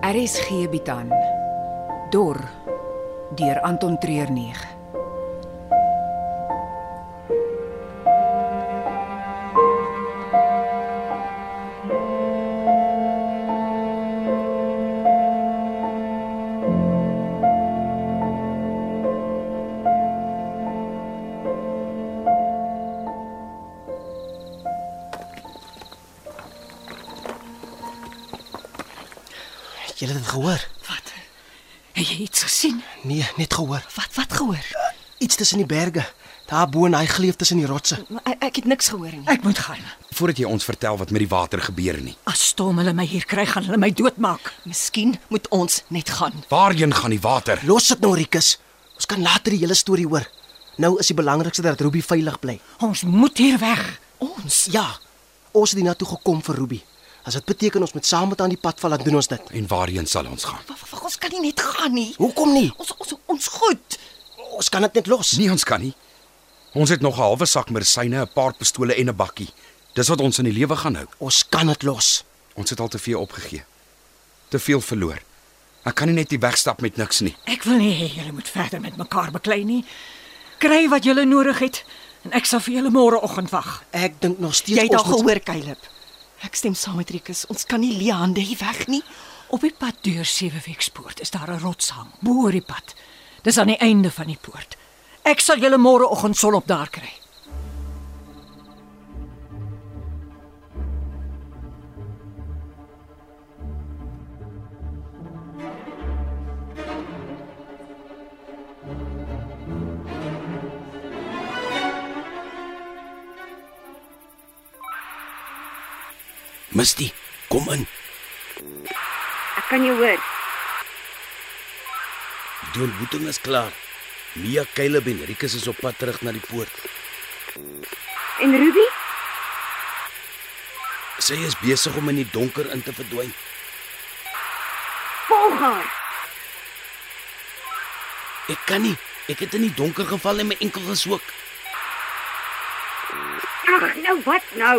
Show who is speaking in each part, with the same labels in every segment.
Speaker 1: RSG bied aan Dor deur Anton Treurnig.
Speaker 2: Het julle dit gehoor?
Speaker 3: Wat? Het jy iets gesien?
Speaker 2: Nee, net gehoor.
Speaker 3: Wat wat gehoor?
Speaker 2: Iets tussen die berge, daar bo in daai gleuf tussen die rotse.
Speaker 3: Maar ek, ek het niks gehoor nie.
Speaker 4: Ek moet gaan.
Speaker 5: Voordat jy ons vertel wat met die water gebeur nie.
Speaker 4: As storm hulle my hier kry, gaan hulle my doodmaak.
Speaker 3: Miskien moet ons net gaan.
Speaker 5: Waarheen gaan die water?
Speaker 2: Los dit nou, Rikus. Ons kan later die hele storie hoor. Nou is die belangrikste dat Ruby veilig bly.
Speaker 4: Ons moet hier weg.
Speaker 3: Ons.
Speaker 2: Ja. Ons het hiernatoe gekom vir Ruby. As dit beteken ons moet saam met haar aan die pad val, dan doen ons dit.
Speaker 5: En waarheen sal ons gaan?
Speaker 3: Wa- wa- wa- Ons kan nie net gaan nie.
Speaker 2: Hoekom nie?
Speaker 3: Ons ons ons goed.
Speaker 2: Ons kan dit net los.
Speaker 5: Nee, ons kan nie. Ons het nog 'n halwe sak mersyne, 'n paar pistole en 'n bakkie. Dis wat ons in die lewe gaan hou.
Speaker 2: Ons kan dit los.
Speaker 5: Ons het al te veel opgegee. Te veel verloor. Ek kan nie net hier wegstap met niks nie.
Speaker 4: Ek wil nie hê julle moet verder met mekaar beklei nie. Kry wat julle nodig het en ek sal vir julle môreoggend wag.
Speaker 2: Ek dink nog steeds
Speaker 3: Jy het al
Speaker 2: ons moet-
Speaker 3: gehoor, Caleb. Ek stem saam met Rikus. Ons kan nie Leande hier weg nie.
Speaker 4: Op die pad deur Sewewekspoort is daar 'n rotshang bo oor die pad. Dis aan die einde van die poort. Ek sal julle môreoggend sonop daar kry.
Speaker 5: Misty, kom in.
Speaker 6: Ek kan jou hoor.
Speaker 7: Die ontmoeting is klaar. Mia, Caleb en Rikus is op pad terug na die poort.
Speaker 6: En Ruby?
Speaker 7: Sy is besig om in die donker in te verdwyn.
Speaker 6: Volg haar.
Speaker 7: Ek kan nie. Ek het in die donker geval en my enkel geswak.
Speaker 6: Ag, nou wat nou?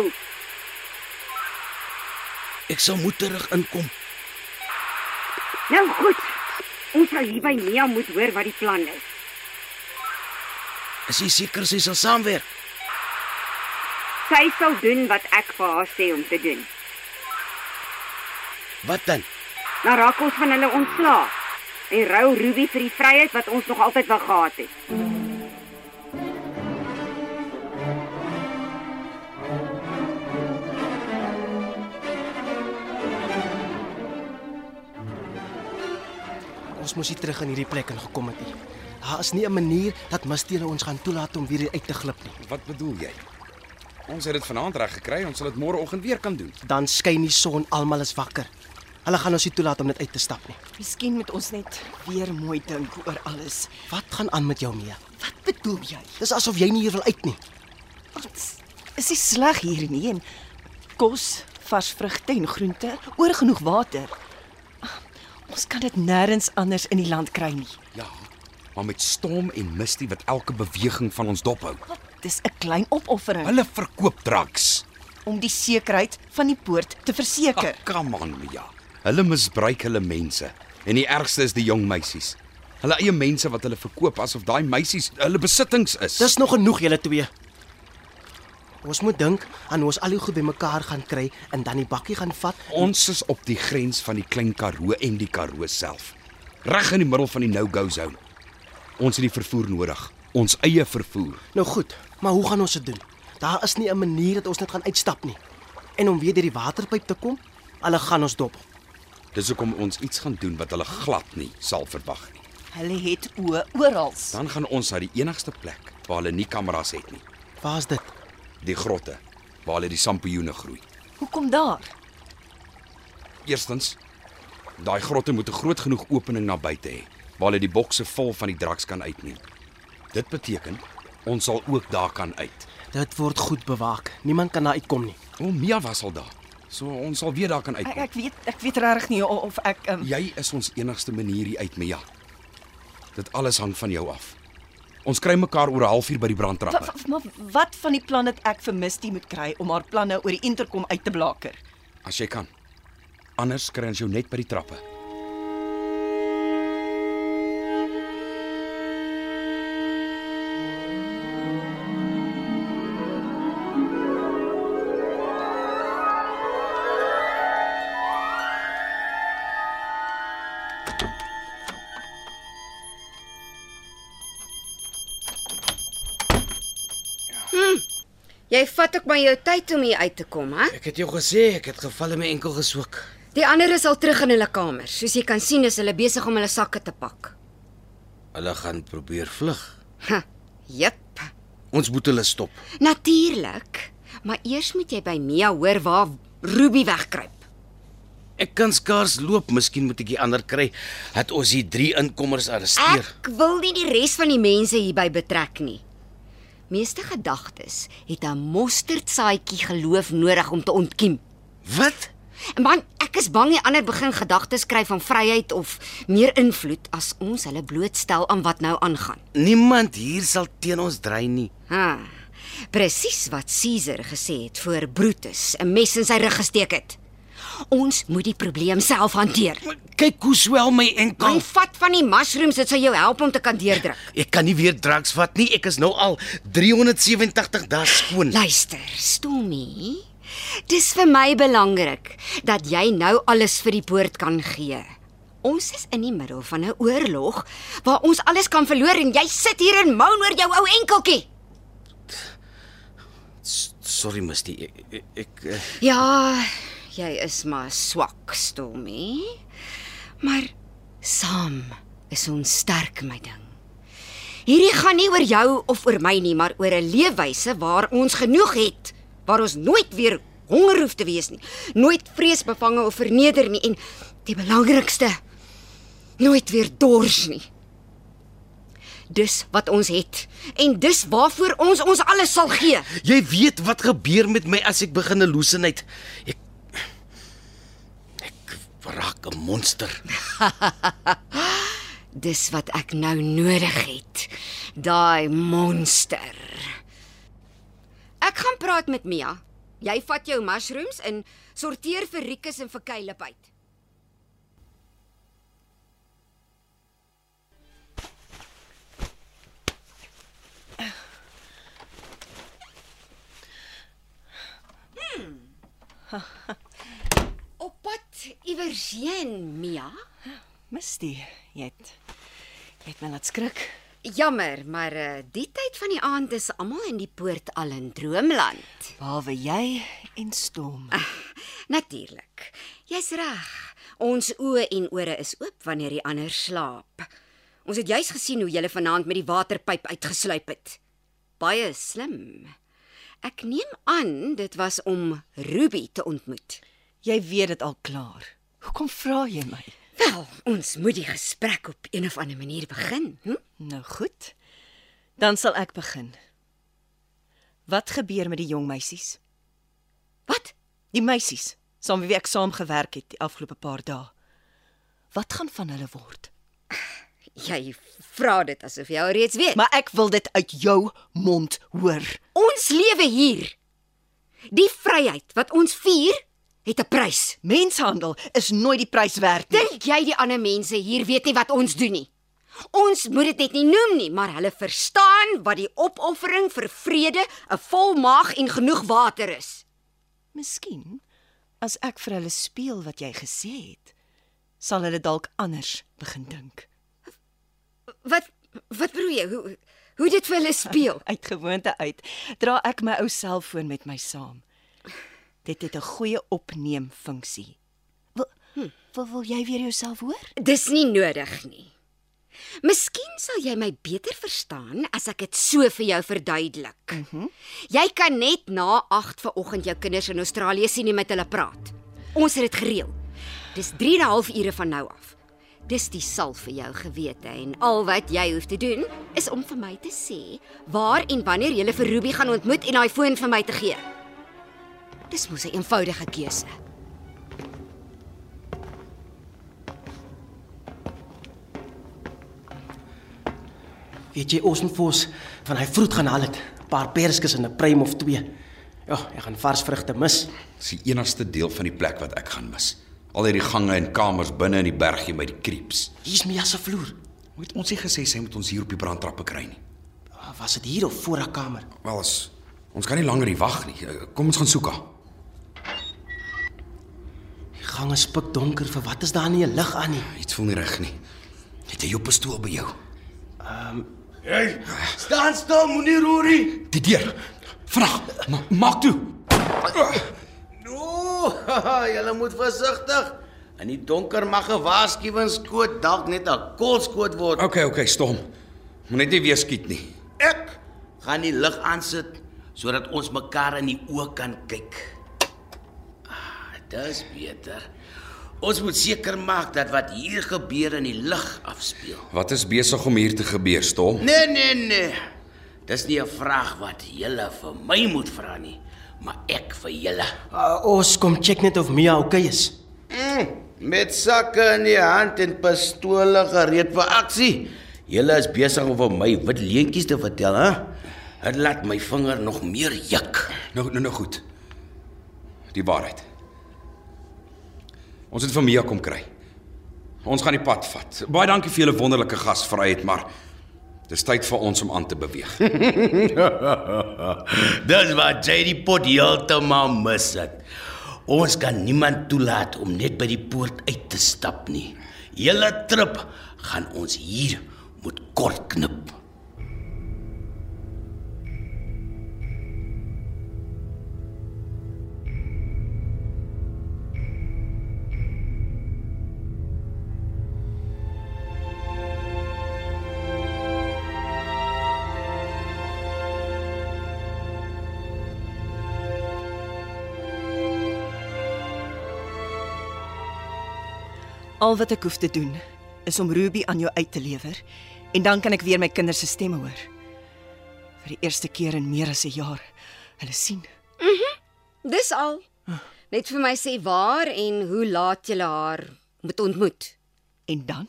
Speaker 7: Ek sal moet terug inkom.
Speaker 6: Nou goed. Ons sal hier by Mia moet hoor wat die plan is.
Speaker 7: Is jy seker sy sal saamwerk?
Speaker 6: Sy sal doen wat ek vir haar sê om te doen.
Speaker 7: Wat dan?
Speaker 6: Dan Nou raak ons van hulle ontslae en rou Ruby vir die vryheid wat ons nog altyd wou gehad het.
Speaker 2: Ons moes hier terug in hierdie plek ingekom het. nie. Daar is nie 'n manier dat Mustela ons gaan toelaat om weer uit te glip nie.
Speaker 5: Wat bedoel jy? Ons het dit vanaand reg gekry, ons sal dit môreoggend weer kan doen.
Speaker 2: Dan skyn die son, almal is wakker. Hulle gaan ons nie toelaat om net uit te stap nie.
Speaker 3: Miskien moet ons net weer mooi dink oor alles.
Speaker 2: Wat gaan aan met jou mee?
Speaker 3: Wat bedoel jy?
Speaker 2: Dis asof jy nie hier wil uit nie.
Speaker 3: Ons is nie sleg hier nie en kos, vars vrugte en groente, oor genoeg water. Ah, Ons kan dit nêrens anders in die land kry nie.
Speaker 5: Ja, maar met storm en Misty wat elke beweging van ons dophou.
Speaker 3: Dis 'n klein opoffering
Speaker 5: Hulle verkoop drugs.
Speaker 3: om die sekerheid van die poort te verseker.
Speaker 5: Ag, Come on, Mia. Hulle misbruik hulle mense. En die ergste is die jong meisies. Hulle eie mense wat hulle verkoop asof daai meisies hulle besittings is.
Speaker 2: Dis nog genoeg julle twee. Ons moet dink aan hoe ons al die goed bymekaar gaan kry en dan die bakkie gaan vat.
Speaker 5: ons is op die grens van die Klein Karoo en die Karoo self. Reg in die middel van die no-go zone. Ons het die vervoer nodig, ons eie vervoer.
Speaker 2: Nou goed, maar hoe gaan ons dit doen? Daar is nie 'n manier dat ons net gaan uitstap nie. En om weer deur die waterpyp te kom, hulle gaan ons dop.
Speaker 5: Dis hoekom ons iets gaan doen wat hulle glad nie sal verwag nie.
Speaker 3: Hulle het oë oral.
Speaker 5: Dan gaan ons na die enigste plek waar hulle nie kameras het nie,
Speaker 2: Waar's dit?
Speaker 5: die grotte waar hulle die sampioene groei.
Speaker 3: Hoekom daar?
Speaker 5: Eerstens, daai grotte moet 'n groot genoeg opening na buite hê waar hulle die bokse vol van die draks kan uitneem. Dit beteken ons sal ook daar kan uit.
Speaker 2: Dit word goed bewaak. Niemand kan daar uitkom nie.
Speaker 5: O, Mia was al daar. So ons sal weer daar kan
Speaker 3: Ek,
Speaker 5: uitkom.
Speaker 3: ek weet ek weet regtig nie o- of ek um,
Speaker 5: Jy is ons enigste manier hier uit, Mia. Dit alles hang van jou af. Ons kry mekaar oor 'n halfuur by die
Speaker 3: wat,
Speaker 5: brandtrappe.
Speaker 3: wat, wat van die plan dat ek vir Misty moet kry om haar planne oor die interkom uit te blaker?
Speaker 5: As jy kan. Anders kry ons jou net by die trappe.
Speaker 8: Jy vat ook maar jou tyd om hier uit te kom, hè?
Speaker 7: Ek het jou gesê ek het geval en my enkel geswik.
Speaker 8: Die ander is al terug in hulle kamers. Soos jy kan sien, is hulle besig om hulle sakke te pak.
Speaker 7: Hulle gaan probeer vlug.
Speaker 8: Ha, jep.
Speaker 7: Ons moet hulle stop.
Speaker 8: Natuurlik, maar eers moet jy by Mia hoor waar Ruby wegkruip.
Speaker 7: Ek kan skaars loop, miskien moet ek die ander kry. Het ons hier drie inkommers arresteer.
Speaker 8: Ek wil nie die res van die mense hierby betrek nie. Meeste gedagtes het 'n mosterdsaadjie geloof nodig om te ontkiem.
Speaker 7: Wat?
Speaker 8: Man, ek is bang die ander begin gedagtes kry van vryheid of meer invloed as ons hulle blootstel aan wat nou aangaan.
Speaker 7: Niemand hier sal teen ons dry nie.
Speaker 8: Ha. Presies wat Caesar gesê het voor Brutus 'n mes in sy rug gesteek het. Ons moet die probleem self hanteer.
Speaker 7: Maar kyk hoe swel my
Speaker 8: Kom
Speaker 7: enkel.
Speaker 8: vat van die mushrooms, dit sal jou help om te kan deurdruk.
Speaker 7: Ek kan nie weer drugs vat nie. Ek is nou al 387 dae skoon.
Speaker 8: Luister, Stommie. Dis vir my belangrik dat jy nou alles vir die poort kan gee. Ons is in die middel van 'n oorlog waar ons alles kan verloor en jy sit hier en moan oor jou ou enkeltjie.
Speaker 7: S- Sorry, Misty. Ek ek, ek eh,
Speaker 8: Ja, jy is maar swak, Stommie. Maar saam is ons sterk, my ding. Hierdie gaan nie oor jou of oor my nie, maar oor 'n leefwyse waar ons genoeg het, waar ons nooit weer honger hoef te wees nie, nooit vreesbevange of verneder nie en die belangrikste, nooit weer dors nie. Dis wat ons het en dis waarvoor ons ons alles sal gee.
Speaker 7: jy weet wat gebeur met my as ek begin hallucinate. Ek ek raak 'n monster.
Speaker 8: Dis wat ek nou nodig het. Daai monster. Ek gaan praat met Mia. Jy vat jou mushrooms en sorteer vir Rikus en vir Caleb uit. Op pad iewers heen, Mia.
Speaker 3: Misty, jy het jy het my laat skrik.
Speaker 8: Jammer, maar uh, die tyd van die aand is almal in die poort al in droomland.
Speaker 3: Behalwe jy en Storm.
Speaker 8: Natuurlik. Jy's reg. Ons oë en ore is oop wanneer die ander slaap. Ons het juis gesien hoe jy vanaand met die waterpyp uitgesluip het. Baie slim. Ek neem aan dit was om Ruby te ontmoet.
Speaker 3: Jy weet dit al klaar. Hoekom vra jy my?
Speaker 8: Wel, ons moet die gesprek op een of ander manier begin. Hm?
Speaker 3: Nou goed. Dan sal ek begin. Wat gebeur met die jong meisies?
Speaker 8: Wat?
Speaker 3: Die meisies saam wie ek saam gewerk het die afgelope paar dae. Wat gaan van hulle word?
Speaker 8: Jy vra dit asof jy al reeds weet.
Speaker 3: Maar ek wil dit uit jou mond hoor.
Speaker 8: Ons lewe hier. Die vryheid wat ons vier, het 'n prys.
Speaker 3: Menshandel is nooit die prys werd nie.
Speaker 8: Dink jy die ander mense hier weet nie wat ons doen nie? Ons moet dit net nie noem nie, maar hulle verstaan wat die opoffering vir vrede, 'n vol maag en genoeg water is.
Speaker 3: Miskien as ek vir hulle speel wat jy gesê het, sal hulle dalk anders begin dink.
Speaker 8: Wat wat bedoel jy? Hoe hoe dit vir hulle speel?
Speaker 3: Uit gewoonte uit dra ek my ou selfoon met my saam. Dit het 'n goeie opneem funksie. Wil wil, wil jy weer jouself hoor?
Speaker 8: Dis nie nodig nie. Miskien sal jy my beter verstaan as ek dit so vir jou verduidelik. Mm -hmm. Jy kan net na 8 vanoggend jou kinders in Australië sien en met hulle praat. Ons het dit gereël. Dis 3 en 'n half ure van nou af. Dis die sal vir jou gewete en al wat jy hoef te doen is om vir my te sê waar en wanneer jy vir Ruby gaan ontmoet en daai foon vir my te gee. Dis mos 'n eenvoudige keuse.
Speaker 2: Weet jy ons moet vir ons van hy vroet gaan haal het. 'n Paar perskes en 'n prym of twee. Ja, ek gaan vars vrugte mis.
Speaker 5: Dis die enigste deel van die plek wat ek gaan mis. Al hierdie gange en kamers binne in die bergie met die creeps.
Speaker 2: Hier's Mia se vloer.
Speaker 5: Moet ons nie gesê sy moet ons hier op die brandtrappe kry nie.
Speaker 2: Ah, Was dit hier of voor haar kamer?
Speaker 5: Wel as ons kan nie langer hier wag nie. Eh, Kom ons gaan soek haar.
Speaker 2: Die gang is pikdonker. Vir wat is daar nie 'n lig aan nie?
Speaker 5: Iets voel nie reg nie. Het jy jou pistool by jou?
Speaker 7: Staan stil, moenie roer nie.
Speaker 5: Die deur. Vinnig, ma maak toe.
Speaker 7: Ooh, julle moet versigtig. In die donker mag 'n waarskuwingsskoot dalk net 'n kolskoot word.
Speaker 5: Okay, okay, stom. Moet net nie weer skiet nie.
Speaker 7: Ek gaan die lig aansit sodat ons mekaar in die oë kan kyk. Ah, dis beter. Ons moet seker maak dat wat hier gebeur in die lig afspeel.
Speaker 5: Wat is besig om hier te gebeur, stom?
Speaker 7: Nee, nee, nee. Dis nie 'n vraag wat julle vir my moet vra nie, maar ek vir julle.
Speaker 2: Uh, ons kom check net of Mia oukei okay is.
Speaker 7: Mm, met sakke in die hand en pistole gereed vir aksie. Julle is besig om vir my wit leentjies te vertel, hè? Dit laat my vinger nog meer juk.
Speaker 5: Nou nou nou goed. Die waarheid. Ons het vir Mia kom kry. Ons gaan die pad vat. Baie dankie vir julle wonderlike gasvryheid, maar dis tyd vir ons om aan te beweeg.
Speaker 7: Dis wat JD Pot heeltemal mis het. Ons kan niemand toelaat om net by die poort uit te stap nie. Hele trip gaan ons hier moet kort knip.
Speaker 3: Al wat ek hoef te doen is om Ruby aan jou uit te lewer en dan kan ek weer my kinders se stemme hoor. Vir die eerste keer in meer as 'n jaar. Hulle sien.
Speaker 8: Dis al. Net vir my sê waar en hoe laat jy haar moet ontmoet.
Speaker 3: En dan?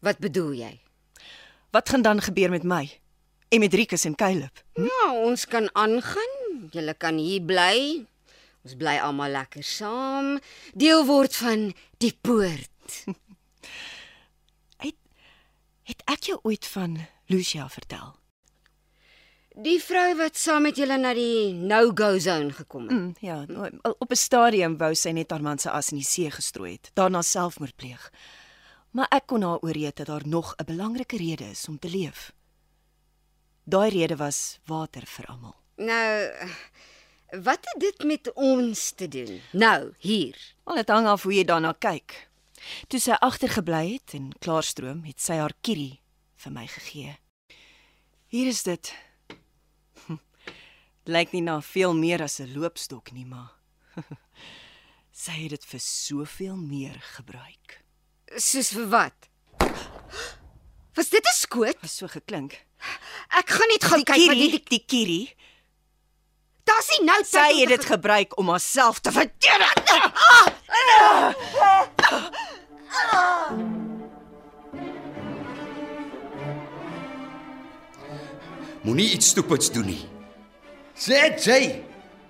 Speaker 8: Wat bedoel jy?
Speaker 3: Wat gaan dan gebeur met my? En met Rikus en Caleb?
Speaker 8: Ja, ons kan aangaan. Julle kan hier bly. Ons bly almal lekker saam, deel word van die poort.
Speaker 3: Het ek jou ooit van Lucia vertel?
Speaker 8: Die vrou wat saam met julle na die no-go zone gekom het.
Speaker 3: Mm, ja, o- op 'n stadium wou sy net haar man se as in die see gestrooi het, daarna selfmoord pleeg. Maar ek kon haar ooreed dat daar nog 'n belangrike rede is om te leef. Daai rede was water vir almal.
Speaker 8: Nou, wat het dit met ons te doen? Nou, hier.
Speaker 3: Al dit hang af hoe jy daarna kyk. Toe sy agtergebly het en klaarstroom, het sy haar kierie vir my gegee. Hier is dit. Hm, Lyk nie na veel meer as 'n loopstok nie, maar sy het dit vir soveel meer gebruik.
Speaker 8: Soos vir wat? Was dit 'n skoot?
Speaker 3: Was so geklink.
Speaker 8: Ek gaan net gaan kyk wat
Speaker 3: die,
Speaker 8: hierdie
Speaker 3: die kierie,
Speaker 8: Daar's nie nou tyd
Speaker 3: sy
Speaker 8: om
Speaker 3: het
Speaker 8: te
Speaker 3: dit gebruik om haarself te verdedig.
Speaker 5: Moenie iets stupids doen nie.
Speaker 7: Sê jy,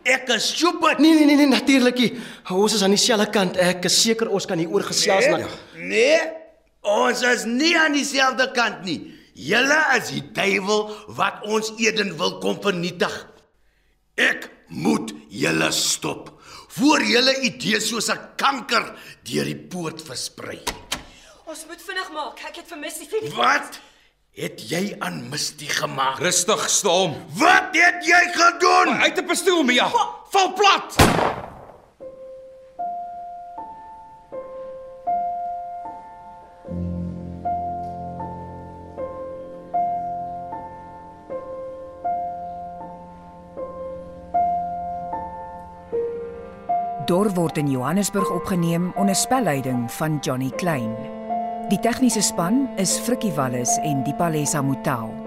Speaker 7: ek is stupid.
Speaker 2: Nee nee nee, nee natuurlik. nie. Ons is aan dieselfde kant. Ek is seker ons kan hier oor gesels maar
Speaker 7: nee, ons is nie aan dieselfde kant nie. Julle is die duiwel wat ons Eden wil kom vernietig. Ek moet julle stop voor julle idees soos 'n kanker deur die poort versprei.
Speaker 3: Ons moet vinnig maak. Ek het vermis die video.
Speaker 7: Wat het jy aan Misty gemaak?
Speaker 5: Rustig, stom.
Speaker 7: Wat het jy gedoen?
Speaker 5: Uit 'n pistool, Mia. Val plat.
Speaker 1: Dor word in Johannesburg opgeneem onder spelleiding van Johnny Klein. Die tegniese span is Frikkie Wallis en Dipalesa Motelo.